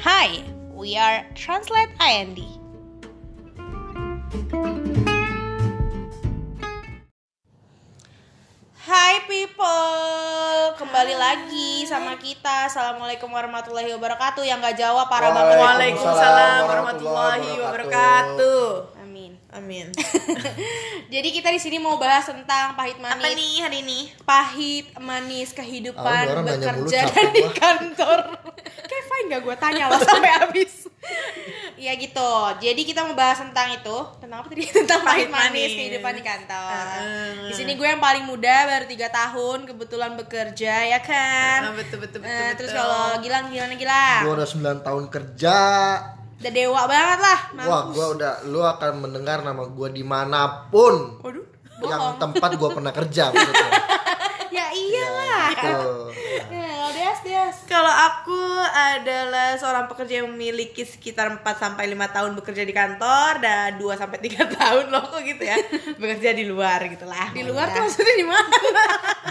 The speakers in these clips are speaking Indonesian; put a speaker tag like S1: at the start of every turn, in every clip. S1: Hi, we are Translate IND. Hai people, kembali lagi sama kita. Assalamualaikum warahmatullahi wabarakatuh. Yang nggak jawab parah banget.
S2: Waalaikumsalam warahmatullahi wabarakatuh.
S1: Amin.
S2: Amin.
S1: Jadi kita di sini mau bahas tentang pahit
S2: Apa
S1: manis,
S2: nih hari ini?
S1: pahit manis
S3: Tahu nih
S1: kehidupan
S3: orang nanya mulu,
S1: bekerja
S3: capek
S1: dan di
S3: gua.
S1: kantor. Kayak fine nggak gue tanya loh sampai habis. Ya gitu. Jadi kita mau bahas tentang itu, tentang apa tadi? Tentang pahit,
S2: Pahit
S1: manis,
S2: manis.
S1: kehidupan di kantor.
S2: Ah.
S1: Di sini gue yang paling muda baru tiga tahun, kebetulan bekerja ya kan.
S2: Ah, betul betul betul.
S1: Eh, terus
S2: betul.
S1: kalau Gilang gimana Gilang?
S3: Gua udah 9 tahun kerja.
S1: Udah dewa banget lah.
S3: Wah,
S1: mampus.
S3: gua udah lu akan mendengar nama gua dimanapun
S1: Waduh. Bohong.
S3: yang tempat gua pernah kerja. maksudnya. Gitu.
S1: Ya iyalah.
S3: Tuh.
S1: Ya, kalau Deas,
S3: Iya.
S1: Deas.
S2: kalau aku adalah seorang pekerja yang memiliki sekitar 4 sampai 5 tahun bekerja di kantor dan 2 sampai 3 tahun loh kok gitu ya. bekerja di luar gitu lah.
S1: Di luar tuh maksudnya di mana?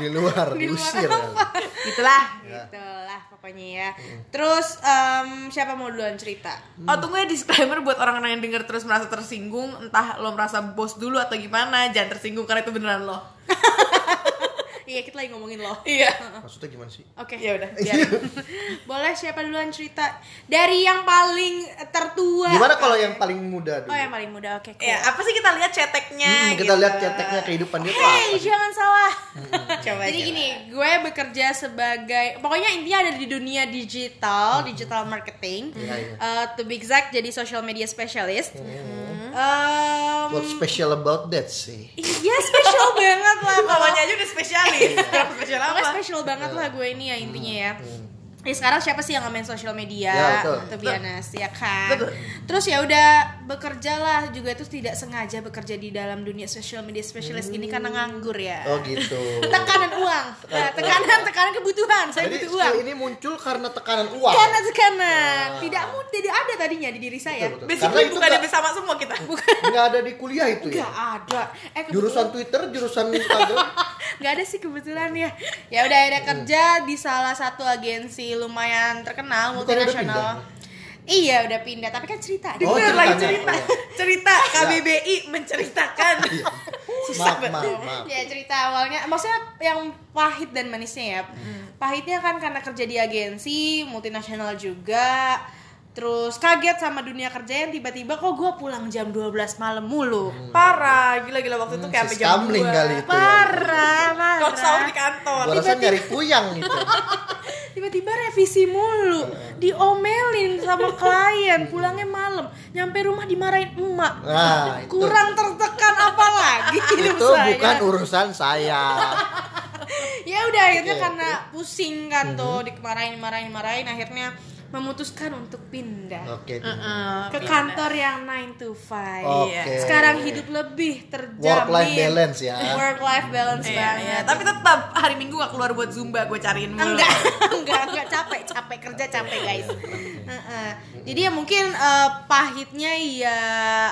S3: Di luar,
S1: Di luar
S3: diusir.
S1: apa?
S3: kan.
S2: gitulah.
S3: Ya.
S1: gitu lah pokoknya ya terus em, siapa mau duluan cerita
S2: Oh tunggu ya disclaimer buat orang-orang yang denger terus merasa tersinggung Entah lo merasa bos dulu atau gimana Jangan tersinggung karena itu beneran lo
S1: iya kita lagi ngomongin lo oke
S2: Iya
S3: Maksudnya gimana sih?
S2: Ya udah
S3: Iya.
S1: biar. boleh siapa duluan cerita dari yang paling tertua
S3: Gimana Iya. kalau yang paling muda dulu?
S1: oh yang paling muda oke cool.
S2: Ya apa sih kita lihat ceteknya
S3: Hmm, kita
S2: gitu.
S3: lihat ceteknya kehidupan dia tuh
S1: hey
S3: apa sih?
S1: jangan salah
S2: Coba
S1: jadi
S2: coba.
S1: gini gue bekerja sebagai pokoknya intinya ada di dunia digital digital marketing
S3: Iya, iya.
S1: Eh, to be exact jadi social media specialist Em,
S3: What Hmm, special about that sih?
S1: iya special banget lah kalau
S2: Namanya aja udah spesialis. Kenapa spesial
S1: Pokoknya
S2: apa?
S1: special banget lah gue ini
S3: Hmm.
S1: ya intinya ya. Ya sekarang siapa sih yang main sosial media?
S3: Ya, betul.
S1: To be honest, ya kan.
S2: Betul.
S1: Terus ya udah bekerjalah juga terus tidak sengaja bekerja di dalam dunia sosial media specialist ini karena nganggur ya.
S3: Oh gitu.
S1: Tekanan uang. Nah, tekanan tekanan kebutuhan. Saya butuh
S3: Jadi
S1: uang.
S3: skill ini muncul karena tekanan uang.
S1: Karena tekanan. Tidak mu tidak ada tadinya di diri saya.
S3: Betul, betul.
S2: Basically
S3: Karena itu
S2: bukan ada
S3: nggak-
S2: bersama semua kita.
S3: Nggak ada di kuliah itu ya.
S1: Gak ada. Eh, kebetulan-
S3: Jurusan Twitter, jurusan Instagram.
S1: nggak ada sih kebetulan ya ya udah ada kerja di salah satu agensi lumayan terkenal
S3: Bukan udah
S1: multinasional iya udah pindah tapi kan cerita
S3: Oh,
S2: Bener lagi cerita.
S3: ceritanya.
S2: Cerita KBBI menceritakan.
S3: Iya. maaf, maaf, maaf.
S1: ya cerita awalnya maksudnya yang pahit dan manisnya ya pahitnya kan karena kerja di agensi multinasional juga terus kaget sama dunia kerja yang tiba-tiba kok gue pulang jam 12 malam mulu
S2: Hmm. Parah, gila-gila waktu itu kayak
S3: Hmm, Si
S2: sampai jam
S3: Skamling
S2: 2.
S3: kali itu. Ya.
S1: parah
S2: Kau sahur
S1: parah
S2: di kantor.
S3: Gua rasa nyari kuyang gitu.
S1: tiba-tiba revisi mulu
S3: Iya.
S1: diomelin sama klien pulangnya malam nyampe rumah dimarahin emak
S3: Nah, itu.
S1: kurang tertekan apa lagi hidup
S3: itu
S1: saya.
S3: bukan urusan saya.
S1: ya udah akhirnya
S3: Oke,
S1: karena pusing kan
S3: Mm-hmm.
S1: tuh dikemarahin marahin marahin akhirnya memutuskan untuk pindah
S3: Oke. Nah,
S1: ke kantor yang 9 to 5
S3: Oke.
S1: sekarang hidup lebih terjamin
S3: Work life balance ya.
S1: work life balance
S2: Iya,
S1: banget
S2: iya. tapi tetap hari Minggu gak keluar buat Zumba, gue cariin mulu.
S1: enggak enggak enggak capek capek kerja capek
S3: Iya,
S1: guys Heeh. jadi ya mungkin eh, pahitnya ya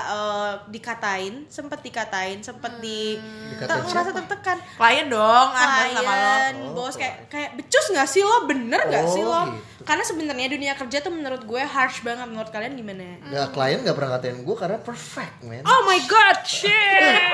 S1: eh, dikatain sempet dikatain sempet di
S3: Hmm. Dikatain
S1: ter- ngerasa
S3: siapa?
S1: tertekan
S2: Klien dong, ah sama lo.
S1: klien
S3: lo.
S1: bos
S3: Oh,
S1: kayak kayak becus nggak sih lo bener nggak
S3: Oh,
S1: sih lo
S3: gitu.
S1: karena sebenarnya dunia kerja tuh menurut gue harsh banget menurut kalian
S2: Hmm.
S1: gimana
S3: Nah, klien gak pernah ngatain gue karena perfect, man.
S1: oh my god shit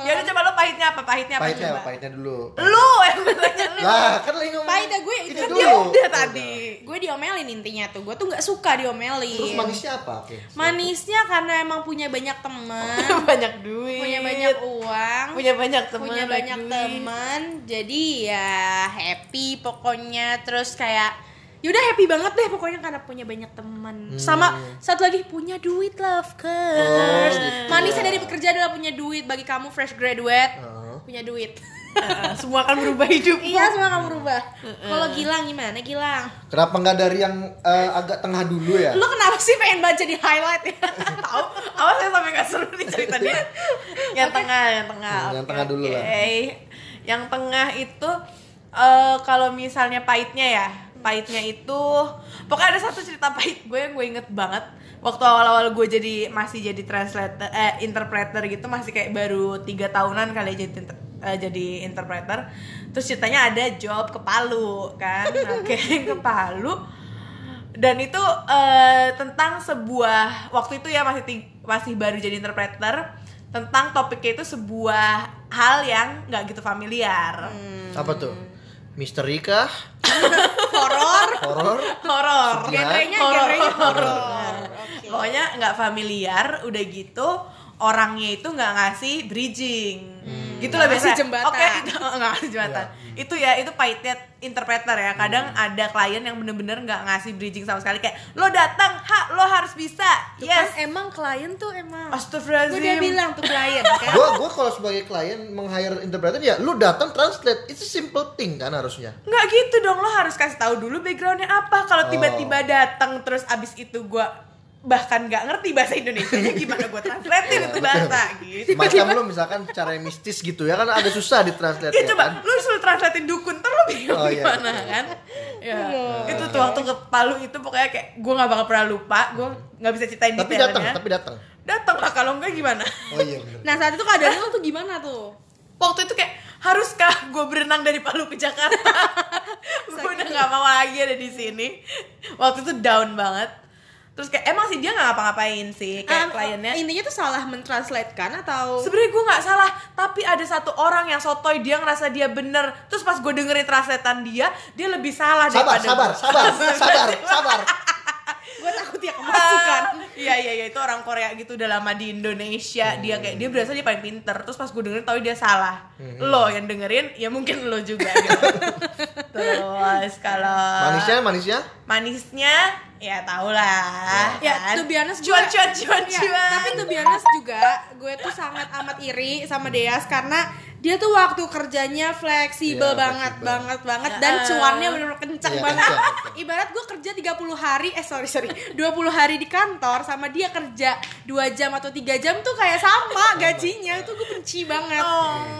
S2: Ya udah coba lo pahitnya apa? Pahitnya apa
S3: pahitnya,
S2: coba?
S3: pahitnya dulu.
S2: Lu yang bertanya lu.
S3: Lah, kan lagi ngomong.
S1: Pahitnya gue itu
S3: ini
S1: kan
S3: dulu.
S1: dia
S2: Udah tadi.
S1: gue diomelin intinya tuh gue tuh nggak suka diomelin
S3: Terus manisnya apa? Oke.
S1: manisnya karena emang punya banyak teman
S2: banyak duit.
S1: punya banyak uang
S2: punya banyak teman.
S1: punya banyak teman jadi ya happy pokoknya terus kayak yaudah happy banget deh pokoknya karena punya banyak teman sama satu lagi punya duit lah of course
S3: Oh, gitu.
S1: manisnya dari bekerja adalah punya duit bagi kamu fresh graduate
S3: Heeh.
S1: punya duit
S2: semua akan berubah hidup.
S1: iya semua kamu berubah kalau Gilang gimana Gilang
S3: Kenapa nggak dari yang eh, agak tengah dulu ya?
S1: lu kenapa sih pengen baca di highlight ya
S2: tahu awas saya sampai nggak seru nih cerita dia yang tengah yang tengah
S3: Hmm, yang
S2: oke,
S3: tengah dulu lah.
S2: oke. yang tengah itu eh, kalau misalnya pahitnya ya pahitnya itu pokoknya ada satu cerita pahit gue yang gue inget banget waktu awal-awal gue jadi masih jadi translator eh interpreter gitu masih kayak baru tiga tahunan kali ya jadi inter- eh, jadi interpreter terus ceritanya ada job Nah, ke Palu kan oke ke Palu dan itu eh, tentang sebuah waktu itu ya masih ti- masih baru jadi interpreter tentang topiknya itu sebuah hal yang nggak gitu familiar
S1: Hmm.
S3: Apa tuh? Misteri kah?
S1: horor Ya.
S3: Horor?
S2: horor
S3: Sejarah?
S1: genrenya
S2: Horor.
S1: genrenya horor
S2: Oke.
S1: oke
S2: Pokoknya nggak familiar, udah gitu orangnya itu nggak ngasih bridging. Gitu
S1: Hmm.
S2: lah
S1: Nggak
S2: biasa.
S1: ngasih jembatan.
S2: Oke, itu- nggak ngasih jembatan. Itu ya itu pahitnya interpreter ya. Kadang ada klien yang bener-bener nggak ngasih bridging sama sekali kayak lo datang, ha, lo harus bisa.
S1: Tuh
S2: yes.
S1: kan emang klien tuh emang
S2: Astagfirullahaladzim.
S1: gue dia bilang tuh klien kan
S3: Gua gua kalau sebagai klien meng-hire interpreter ya lu datang translate. Itu simple thing kan harusnya.
S2: Nggak gitu dong, lo harus kasih tahu dulu backgroundnya apa. Kalau
S3: Oh.
S2: tiba-tiba datang terus abis itu gua bahkan nggak ngerti bahasa Indonesia gimana gue translatein itu bahasa gitu.
S3: Macam lu misalkan cara mistis gitu ya kan agak susah ditranslate
S2: Ya
S3: ya
S2: coba
S3: kan?
S2: lu suruh translatein dukun terus lu bingung
S3: Oh, iya.
S2: gimana kan? Ya. Itu tuh waktu ke Palu itu pokoknya kayak gue nggak bakal pernah lupa, gue nggak bisa ceritain
S3: Tapi
S2: detailnya.
S3: datang, tapi datang.
S2: Datang lah kalau enggak gimana?
S3: Oh iya bener.
S1: nah saat itu keadaan lo tuh gimana tuh
S2: Waktu itu kayak haruskah gue berenang dari Palu ke Jakarta? gue udah nggak mau lagi ada di sini. Waktu itu down banget. Terus kayak emang sih dia nggak ngapa-ngapain sih
S1: Ah,
S2: kayak kliennya.
S1: intinya tuh salah mentranslate kan atau
S2: sebenarnya gue nggak salah tapi ada satu orang yang sotoy dia ngerasa dia bener terus pas gue dengerin translatean dia dia lebih salah
S3: Sabar,
S2: Nah,
S3: sabar,
S2: daripada gua.
S3: sabar, sabar, sabar.
S1: gue takut ya
S2: Masukan.
S1: kemasukan
S2: iya iya iya itu orang Korea gitu udah lama di Indonesia dia
S3: Hmm.
S2: kayak dia berasa dia paling pinter terus pas gue dengerin tau dia salah lo yang dengerin ya mungkin lo juga gitu. terus kalau
S3: Manisnya, manisnya.
S2: manisnya ya tau lah
S1: ya
S2: kan?
S1: to be honest
S2: cuan
S1: gue-
S2: cuan cuan
S1: Ya,
S2: cuan
S1: tapi to be honest juga gue tuh sangat amat iri sama Deas karena dia tuh waktu kerjanya fleksibel
S3: Iya,
S1: banget
S3: fleksibel.
S1: banget banget
S2: Ya.
S1: dan cuannya bener-bener kenceng
S3: Iya,
S1: banget
S3: kenceng, kenceng.
S1: ibarat gue kerja 30 hari eh sorry sorry 20 hari di kantor sama dia kerja 2 jam atau 3 jam tuh kayak sama gajinya itu gue benci banget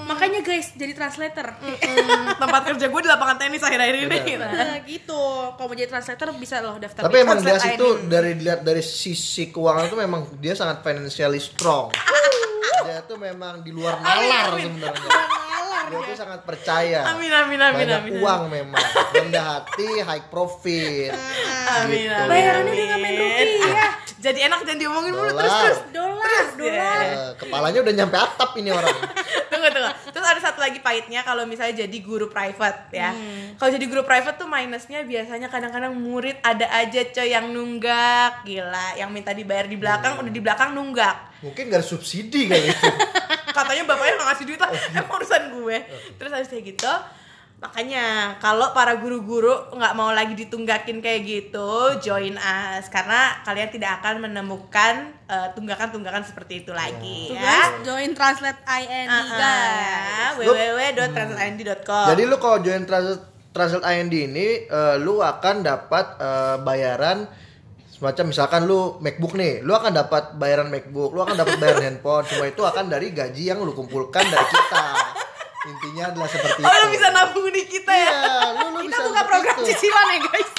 S1: makanya guys jadi translator
S2: Hmm, tempat kerja gue di lapangan tenis akhir-akhir ini
S3: Benar,
S2: gitu.
S1: Nah, gitu kalau mau jadi translator bisa loh
S2: kan
S1: daftar
S3: Tapi
S1: di
S3: emang dia
S1: Translate
S3: itu
S1: ID.
S3: dari dilihat dari sisi keuangan itu memang dia sangat financially strong. Dia tuh memang di luar nalar
S2: amin.
S3: sebenarnya.
S1: Orang nalar
S3: Dia
S1: dia.
S3: tuh sangat percaya.
S2: Amin, amin, amin,
S3: Banyak
S2: amin.
S3: uang memang. Rendah hati, high profit. Gitu.
S2: Amin. amin. Ah,
S1: Bayarannya udah nggak main ya. rupiah.
S2: Jadi enak jangan diomongin mulu terus
S3: Dolar.
S2: terus.
S1: dolar dolar
S3: Eh, kepalanya udah nyampe atap ini orang.
S2: Tunggu tunggu. Terus ada satu lagi pahitnya kalau misalnya jadi guru private ya. Kalau jadi guru private tuh minusnya biasanya kadang-kadang murid ada aja coy yang nunggak, gila, yang minta dibayar di belakang udah di belakang nunggak.
S3: Mungkin gak ada subsidi gitu. kali itu.
S2: Katanya bapaknya nggak ngasih duit lah, emang urusan gue. Terus habis kayak gitu Makanya kalau para guru-guru nggak mau lagi ditunggakin kayak gitu, join us karena kalian tidak akan menemukan eh, tunggakan-tunggakan seperti itu
S1: Tuh
S2: lagi ya.
S1: guys, join translate iya. IN guys.
S2: Ah, www.transatlantic.com
S3: Jadi lu kalau join Transit Transit IND ini eh, lu akan dapat eh, bayaran semacam misalkan lu MacBook nih, lu akan dapat bayaran MacBook, lu akan dapat bayaran handphone, semua itu akan dari gaji yang lu kumpulkan dari kita. Intinya adalah seperti
S2: Oh
S3: itu.
S2: lu bisa nabung di kita ya
S3: Iya, lu, lu
S1: Kita
S3: bisa
S1: buka
S3: seperti
S1: program
S3: itu.
S1: cicilan ya guys.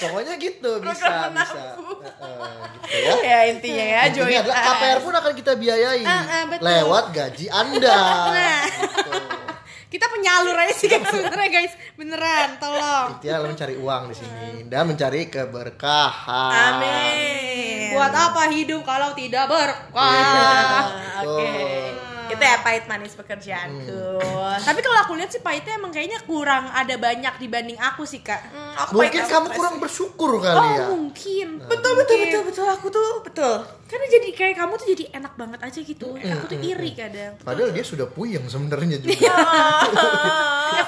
S3: Pokoknya gitu,
S2: Program
S3: bisa, bisa.
S2: menabung.
S3: Eh, eh, gitu ya.
S2: Ya intinya ya
S3: Ini
S2: join
S3: adalah
S2: us.
S3: KPR pun akan kita biayai
S1: Ah, ah, betul.
S3: lewat gaji Anda.
S1: Nah.
S3: Gitu.
S1: Kita penyalur aja sih guys sebenarnya guys. Beneran, tolong.
S3: Intinya lu mencari uang di sini dan mencari keberkahan.
S2: Amin
S1: Buat apa hidup kalau tidak
S3: Iya.
S1: berkah?
S2: Ah, Oke Itu ya pahit manis pekerjaanku
S3: Hmm.
S1: Tapi kalau aku lihat sih pahitnya emang kayaknya kurang ada banyak dibanding aku sih kak.
S2: Hmm, aku
S3: Mungkin
S2: pahit
S3: kamu
S2: banget.
S3: kurang bersyukur kali
S1: Oh
S3: ya.
S1: mungkin.
S2: Betul betul betul betul aku tuh betul
S1: Karena jadi kayak kamu tuh jadi enak banget aja gitu. Aku tuh iri kadang.
S3: Padahal dia sudah puyeng sebenarnya
S1: Iya,
S3: juga.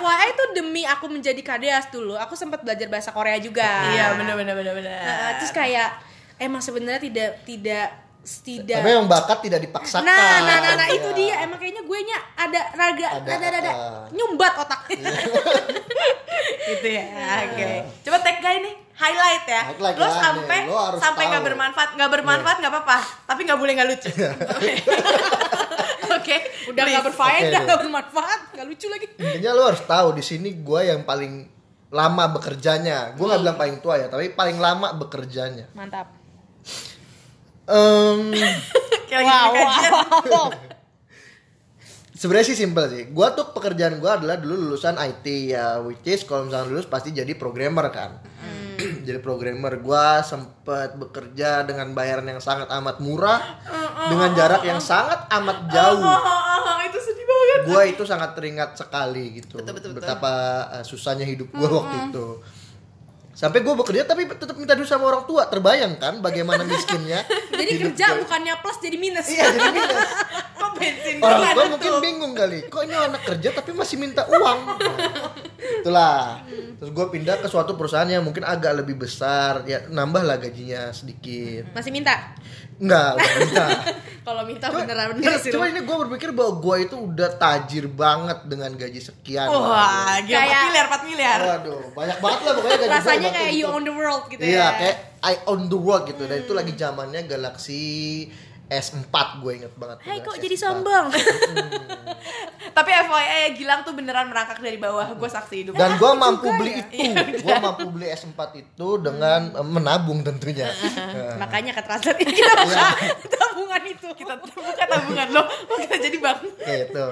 S1: FYI itu demi aku menjadi kadeas dulu. Aku sempat belajar bahasa Korea juga.
S2: Iya
S3: Ah.
S2: bener bener bener bener
S1: Nah, terus kayak emang sebenarnya tidak tidak tidak
S3: Tapi emang bakat tidak dipaksakan.
S1: iya. nah nah nah, nah, itu
S3: Iya.
S1: dia emang kayaknya gue nya ada raga
S3: Ada, Iya.
S1: ada ada, ada.
S3: ah.
S1: nyumbat otak
S2: gitu ya oke coba tag guy nih highlight ya
S3: Ah. Highlight
S2: lo
S3: lah, nih.
S2: sampai
S3: Lo harus
S2: sampai nggak
S3: tahu.
S2: bermanfaat nggak bermanfaat nggak apa-apa tapi nggak boleh nggak lucu oke
S1: udah nggak
S2: please.
S1: berfaedah
S3: Oke,
S1: nggak bermanfaat nggak lucu lagi
S3: Intinya lo harus tahu di sini gue yang paling lama bekerjanya. Gue nggak
S1: Iya.
S3: bilang paling tua ya, tapi paling lama bekerjanya.
S1: mantap
S3: Em,
S2: Kayak lagi dikajian.
S1: wow.
S3: sebenarnya sih simple sih. Gue tuh pekerjaan gue adalah dulu lulusan IT ya, which is kalau misalnya lulus pasti jadi programmer kan.
S2: Hmm.
S3: jadi programmer gua sempet bekerja dengan bayaran yang sangat amat murah dengan jarak yang sangat amat jauh
S2: Oh, oh, oh, Uh-uh. itu sedih banget.
S3: gue itu sangat teringat sekali gitu
S2: Betul, betul, betul.
S3: betapa uh, susahnya hidup gue waktu itu sampai gue bekerja tapi tetap minta duit sama orang tua terbayang kan bagaimana miskinnya
S1: Jadi
S3: hidup
S1: kerja
S3: gua.
S1: bukannya plus jadi minus.
S3: iya jadi minus
S2: Kok bensin
S3: orang
S2: gua
S3: tua
S2: ada
S3: mungkin
S2: tuh?
S3: bingung kali kok ini anak kerja tapi masih minta uang Nah, itulah terus gue pindah ke suatu perusahaan yang mungkin agak lebih besar ya nambah lah gajinya sedikit
S1: Masih minta?
S3: enggak udah enggak
S1: Kalau minta
S3: Cuma-
S1: beneran bener
S3: ini-
S1: sih.
S3: Cuma
S1: lu.
S3: ini gue berpikir bahwa gue itu udah tajir banget dengan gaji sekian.
S2: Wah, gila 4
S1: Kayak-
S2: miliar, 4 miliar.
S3: Waduh, banyak banget lah pokoknya gaji gua
S1: Rasanya
S3: waktu
S1: kayak
S3: itu.
S1: you own the world gitu
S3: Iya,
S1: ya. Hmm.
S3: kayak I own the world gitu. Dan itu lagi zamannya Galaxy S4 gue inget banget.
S1: Hai
S3: Galaxy
S1: kok jadi
S3: S4.
S1: sombong?
S2: Tapi FYI, Gilang tuh beneran merangkak dari bawah. Gue saksi hidup.
S3: Dan gue mampu beli
S1: ya?
S3: itu, gue mampu beli S4 itu dengan eh, menabung tentunya. Eh,
S1: Makanya ketransfer ini kita
S3: Iya.
S1: buka tabungan itu.
S2: kita buka tabungan lo, kok kita jadi bang.
S3: gitu.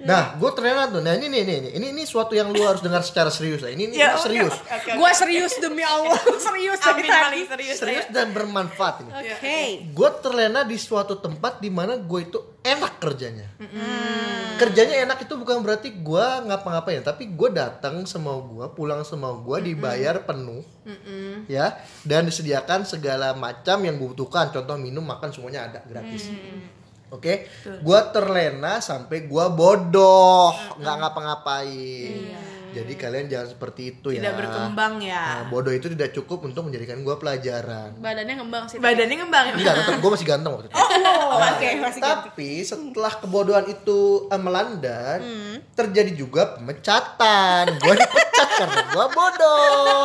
S3: Nah, gue ternyata tuh, nah ini nih, ini, ini, ini, ini suatu yang lu harus dengar secara serius lah. Ini, ini ini
S2: Ya, oke,
S3: serius,
S2: oke, oke.
S1: Gua serius demi Allah, serius dari
S2: Amin
S1: tadi.
S2: paling serius.
S3: serius
S2: saya.
S3: dan bermanfaat ini.
S1: Oke.
S3: gue terlena di suatu tempat di mana gue itu enak kerjanya. Kerjanya enak itu bukan berarti gue ngapa-ngapain, tapi gue datang semau gue, pulang semau gue, dibayar penuh, ya, dan disediakan segala macam yang gue butuhkan. Contoh minum, makan semuanya ada gratis. Oke, gue terlena sampai gue bodoh, nggak ngapa-ngapain. Jadi kalian jangan seperti itu ya.
S2: Tidak berkembang
S3: Nah,
S2: ya.
S3: bodoh itu tidak cukup untuk menjadikan gue pelajaran.
S1: Badannya ngembang sih.
S2: Badannya ngembang ya.
S3: Enggak, tetap gue masih ganteng waktu itu.
S1: Oh,
S3: Nah,
S1: oke, masih ganti.
S3: tapi setelah kebodohan itu eh, melanda, terjadi juga pemecatan. Gue dipecat karena gue bodoh.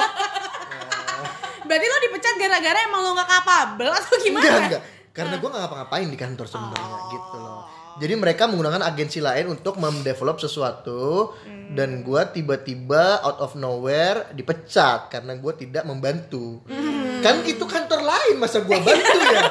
S1: Berarti lo dipecat gara-gara emang lo gak kapabel atau gimana? Ah. Oh.
S3: Enggak, enggak. Karena gue gak ngapa-ngapain di kantor sebenarnya gitu loh. Jadi mereka menggunakan agensi lain untuk mendevelop sesuatu
S1: Hmm.
S3: dan gue tiba-tiba out of nowhere dipecat karena gue tidak membantu.
S1: Hmm.
S3: Kan itu kantor lain masa gue bantu ya.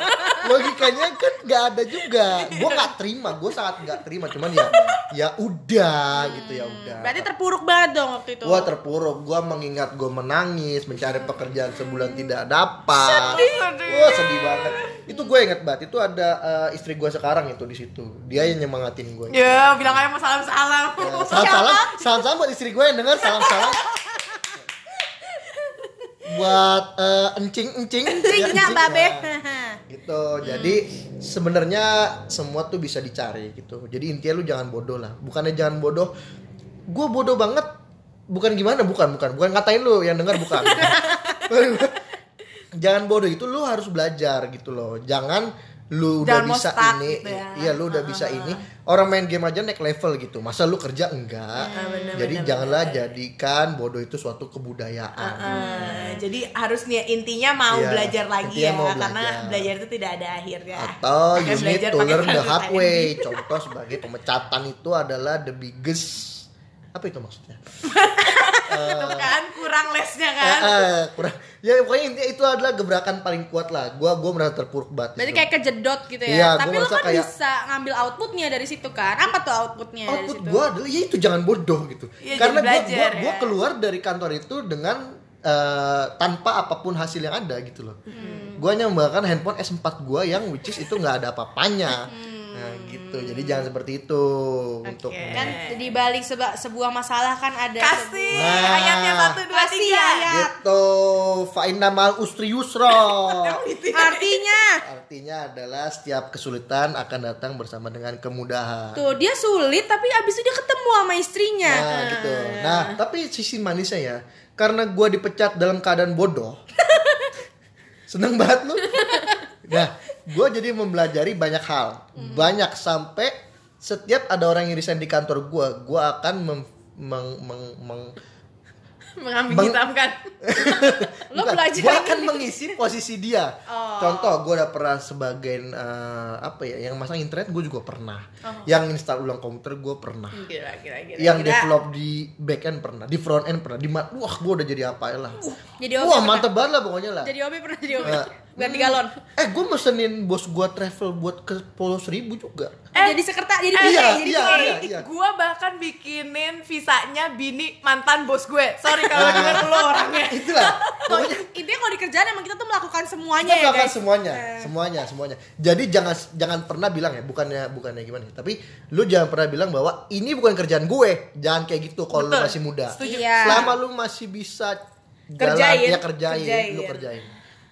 S3: Logikanya kan nggak ada juga. Gue nggak terima, gue sangat nggak terima. Cuman ya, ya udah gitu ya udah.
S1: Berarti terpuruk banget dong waktu itu.
S3: Gue terpuruk, gue mengingat gue menangis, mencari pekerjaan sebulan tidak dapat. Wah sedih banget. Itu gue inget banget. Itu ada eh, istri gue sekarang itu di situ. Dia yang nyemangatin gue.
S2: Ya, bilang aja mau salam-salam.
S3: salam salam, salam salam buat istri gue yang dengar salam salam. buat eh, encing encing. Ya,
S1: Ringnya babe.
S3: ya. Gitu.
S2: Hmm.
S3: Jadi sebenarnya semua tuh bisa dicari gitu. Jadi intinya lu jangan bodoh lah. Bukannya jangan bodoh. Gue bodoh banget. Bukan gimana? Bukan, bukan. Bukan ngatain lu yang dengar bukan. jangan bodoh itu lu harus belajar gitu loh. Jangan lu udah
S2: Jangan mau
S3: bisa
S2: stuck
S3: ini,
S2: gitu ya.
S3: iya lu udah bisa ini. Orang main game aja naik level gitu. Masa lu kerja enggak?
S2: Ah,
S3: jadi janganlah jadikan bodoh itu suatu kebudayaan.
S2: Eh, jadi harus nih intinya mau
S3: Hmm. Iya,
S2: belajar lagi
S3: intinya
S2: ya
S3: mau
S2: karena
S3: belajar.
S2: belajar itu tidak ada akhirnya.
S3: atau
S2: Makanya
S3: you need
S2: belajar
S3: to
S2: pakai
S3: learn the
S2: proses
S3: hard
S2: tadi.
S3: way contoh sebagai pemecatan itu adalah the biggest apa itu maksudnya
S2: Kan? Itu kan kurang lesnya kan.
S3: Eh, eh, kurang ya pokoknya intinya itu adalah gebrakan paling kuat lah gua gua merasa terpuruk banget
S1: Berarti
S3: itu.
S1: kayak kejedot gitu ya.
S3: Iya, gua
S1: Tapi lo
S3: merasa
S1: kan
S3: kayak-
S1: bisa ngambil outputnya dari situ kan. Apa tuh outputnya dari
S3: output
S1: situ?
S3: gua adalah ya itu jangan bodoh gitu karena
S2: Iya, jadi
S3: gua gua,
S2: belajar
S3: gua
S2: ya.
S3: keluar dari kantor itu dengan eh, tanpa apapun hasil yang ada gitu loh
S2: Hmm.
S3: gua hanya membawakan handphone S4 gua yang which is itu nggak ada apa-apanya
S2: Hmm.
S3: nah gitu jadi jangan seperti itu untuk
S1: Kan di balik seba- sebuah masalah kan ada sebuah-
S2: Kasih
S3: Nah.
S2: ayatnya satu dua
S1: Kasih
S2: tiga.
S1: ayat.
S3: gitu fa'inna mal usri yusra
S1: Artinya
S3: artinya adalah setiap kesulitan akan datang bersama dengan kemudahan
S1: tuh dia sulit tapi abis itu dia ketemu sama istrinya.
S3: nah gitu nah tapi sisi manisnya ya karena gua dipecat dalam keadaan bodoh seneng banget lu nah gua jadi mempelajari banyak hal banyak sampai setiap ada orang yang resign di kantor gua gua akan mem- meng- meng- meng-
S2: Mengambil
S3: Bang- kan
S2: hitam kan.
S1: Lo belajar kan
S3: Gue akan mengisi posisi dia. Contoh, gue udah pernah sebagai eh, apa ya, yang masang internet gue juga pernah. Yang install ulang komputer gue pernah.
S2: Gila gila gila.
S3: yang
S2: gila.
S3: develop di back end pernah, di front end pernah. Di ma- wah gue udah jadi apa ya lah.
S1: Jadi OB
S3: wah
S1: pernah.
S3: mantep banget lah pokoknya lah.
S1: Jadi OB pernah jadi OB.
S3: Nah.
S1: Ganti galon.
S3: Eh gue mesenin bos gue travel buat ke Pulau Seribu juga.
S1: Eh, jadi sekretaris jadi
S2: Eh,
S3: Iya,
S2: jadi
S3: iya,
S2: sorry,
S3: iya, iya.
S2: Gua bahkan bikinin visanya bini mantan bos gue. Sorry kalau dengar lo orangnya.
S3: itulah pokoknya
S1: intinya kalau di kerjaan emang kita tuh melakukan semuanya
S3: kita
S1: ya
S3: melakukan
S1: guys
S3: semuanya semuanya semuanya jadi jangan jangan pernah bilang ya bukannya bukannya gimana tapi lu jangan pernah bilang bahwa ini bukan kerjaan gue jangan kayak gitu kalau lu
S2: Betul.
S3: masih muda
S2: Setuju.
S1: Iya.
S3: selama lu masih bisa jalan,
S2: Kerjain.
S3: ya kerjain,
S1: Kerjain.
S3: lu kerjain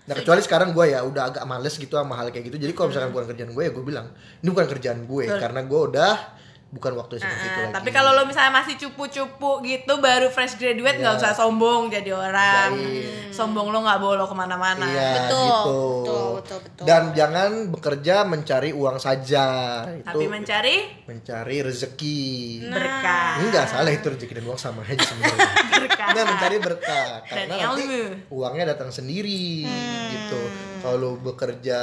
S3: nah kecuali sekarang gue ya udah agak males gitu sama hal kayak gitu jadi kalau misalkan bukan kerjaan gue ya gue bilang ini bukan kerjaan gue karena gue udah bukan waktu seperti itu
S2: Ah,
S3: lagi
S2: tapi kalau lo misalnya masih cupu-cupu gitu baru fresh graduate
S3: Iya.
S2: nggak usah sombong jadi orang sombong lo nggak bawa lo kemana-mana
S3: Iya,
S1: Betul,
S3: gitu.
S1: betul, betul, betul.
S3: Dan jangan bekerja mencari uang saja. Itu
S2: tapi mencari
S3: mencari rezeki.
S2: Nah. berkah
S3: Enggak salah itu rezeki dan uang sama aja sebenarnya.
S2: Berkah.
S3: Nah, mencari berkah karena
S2: Dan
S3: nanti
S2: ilmu. Hmm.
S3: uangnya datang sendiri gitu. Kalau lu bekerja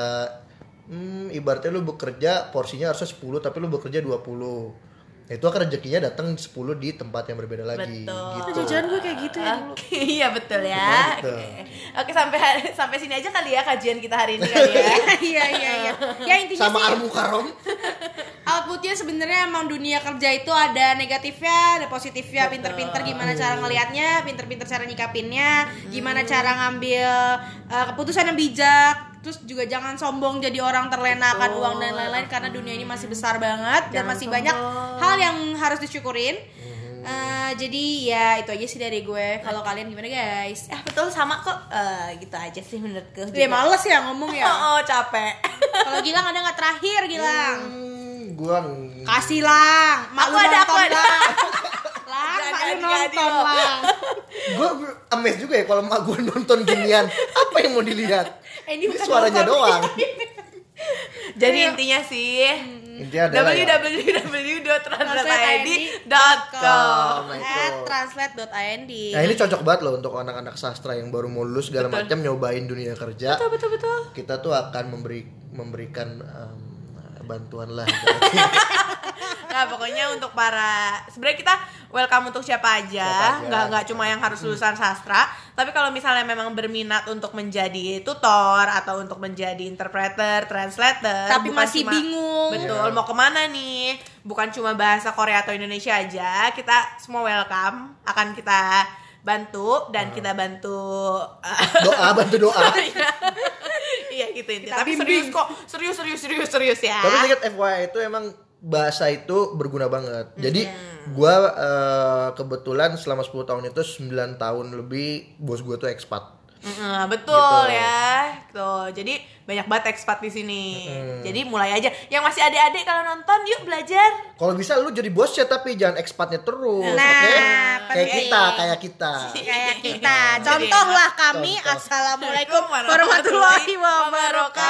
S3: hmm, ibaratnya lu bekerja porsinya harusnya 10 tapi lu bekerja 20. Nah, itu akan rezekinya datang 10 di tempat yang berbeda lagi
S2: Betul.
S1: Itu
S3: gitu.
S1: jajan gue kayak gitu ya dulu
S2: Oke, iya betul ya.
S3: Betul,
S2: Oke.
S3: betul.
S2: Oke, sampai hari- sampai sini aja kali ya kajian kita hari ini kali ya.
S1: iya iya iya ya intinya
S3: Sama
S1: sih
S3: Al Mukarram.
S1: outputnya sebenarnya emang dunia kerja itu ada negatifnya ada positifnya pinter-pinter gimana
S2: Iya.
S1: cara ngelihatnya pinter-pinter cara nyikapinnya
S2: Hmm.
S1: gimana cara ngambil eh, keputusan yang bijak terus juga jangan sombong jadi orang terlena akan uang dan lain-lain karena dunia ini masih besar banget dan
S2: Hmm. Jangan
S1: masih banyak
S2: sombong. Hmm.
S1: hal yang harus disyukurin Eh, jadi ya itu aja sih dari gue kalau kalian gimana guys
S2: Ah, betul sama kok. Eh, gitu aja sih menurutku.
S1: Dia
S2: juga.
S1: males ya ngomong ya
S2: Oh, oh, capek.
S1: Kalau Gilang ada nggak terakhir Gilang?
S3: Hmm, gua ng-
S1: Kasih lang, mak
S2: Aku
S1: lu
S2: ada,
S1: nonton
S2: aku ada.
S1: lang. Lang, mak
S2: Jadi,
S1: lu
S2: jadi, jadi
S1: nonton
S2: lo.
S1: lang.
S3: gue amazed juga ya kalau emak gue nonton ginian apa yang mau dilihat
S1: Eh, ini
S3: ini
S1: bukan
S3: suaranya
S1: nonton.
S3: doang
S2: Jadi intinya sih
S3: intinya adalah
S2: E
S3: ya, Oh
S2: www.translateid.com
S3: my
S1: At
S3: God.
S1: translate.ind.
S3: nah ini cocok banget loh untuk anak-anak sastra yang baru mau lulus segala
S2: Betul.
S3: macam nyobain dunia kerja
S2: Betul betul betul.
S3: kita tuh akan memberi memberikan em, bantuan lah
S2: Nah, pokoknya untuk para sebenarnya kita welcome untuk siapa
S3: Siapa
S2: aja,
S3: aja. Hmm.
S2: nggak nggak cuma yang harus lulusan sastra, tapi kalau misalnya memang berminat untuk menjadi tutor atau untuk menjadi interpreter, translator,
S1: Tapi
S2: bukan
S1: masih bingung.
S2: betul mau kemana nih? Bukan cuma bahasa Korea atau Indonesia aja, kita semua welcome, akan kita
S3: Hmm.
S2: bantu dan kita bantu
S3: doa bantu doa
S2: iya gitu intinya.
S1: Kita
S2: Tapi serius
S1: bimbing.
S2: kok, serius serius serius serius ya.
S3: Tapi ingat FYI itu emang bahasa itu berguna banget. Jadi
S1: Hmm.
S3: gua eh, kebetulan selama 10 tahun itu 9 tahun lebih bos gua tuh ekspat.
S2: Mm, betul
S3: Gitu.
S2: ya. Tuh, jadi banyak banget ekspat di sini. Jadi mulai aja. Yang masih adik-adik kalau nonton yuk belajar.
S3: Kalau bisa lu jadi bosnya tapi jangan ekspatnya terus,
S1: Nah,
S3: oke? Kayak
S1: penting. Iya.
S3: kita, kayak kita.
S1: Kayak kita, contohlah kami.
S3: Contoh.
S1: Assalamualaikum
S2: Assalamualaikum
S1: warahmatullahi wabarakatuh.